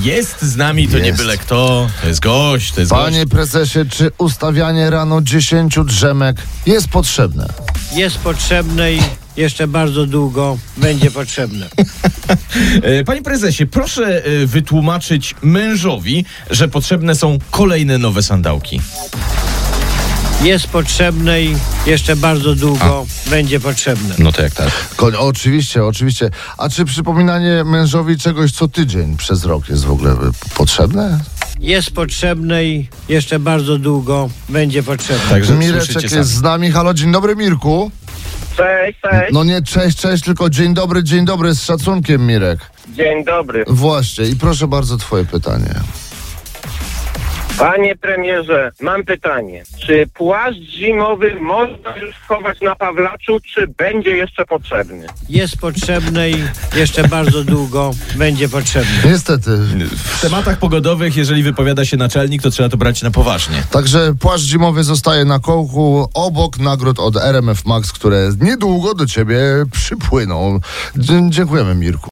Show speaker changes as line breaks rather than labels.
Jest z nami, to nie
Jest.
byle kto. To jest gość, to jest
Panie
gość.
prezesie, czy ustawianie rano 10 drzemek jest potrzebne?
Jest potrzebne i jeszcze bardzo długo będzie potrzebne.
E, Panie prezesie, proszę e, wytłumaczyć mężowi, że potrzebne są kolejne nowe sandałki.
Jest potrzebne i jeszcze bardzo długo będzie potrzebne.
No to jak tak?
Koń, oczywiście, oczywiście. A czy przypominanie mężowi czegoś co tydzień przez rok jest w ogóle y, potrzebne?
Jest potrzebne i jeszcze bardzo długo będzie potrzebne.
Także słyszycie
Mireczek
sami.
jest z nami. Halo, dzień dobry Mirku.
Cześć, cześć.
No nie cześć, cześć, tylko dzień dobry, dzień dobry z szacunkiem Mirek.
Dzień dobry.
Właśnie i proszę bardzo twoje pytanie.
Panie premierze, mam pytanie. Czy płaszcz zimowy można już schować na Pawlaczu, czy będzie jeszcze potrzebny?
Jest potrzebne i jeszcze bardzo długo będzie potrzebne.
Niestety.
W tematach pogodowych, jeżeli wypowiada się naczelnik, to trzeba to brać na poważnie.
Także płaszcz zimowy zostaje na kołku obok nagród od RMF Max, które niedługo do ciebie przypłyną. Dzie- dziękujemy Mirku.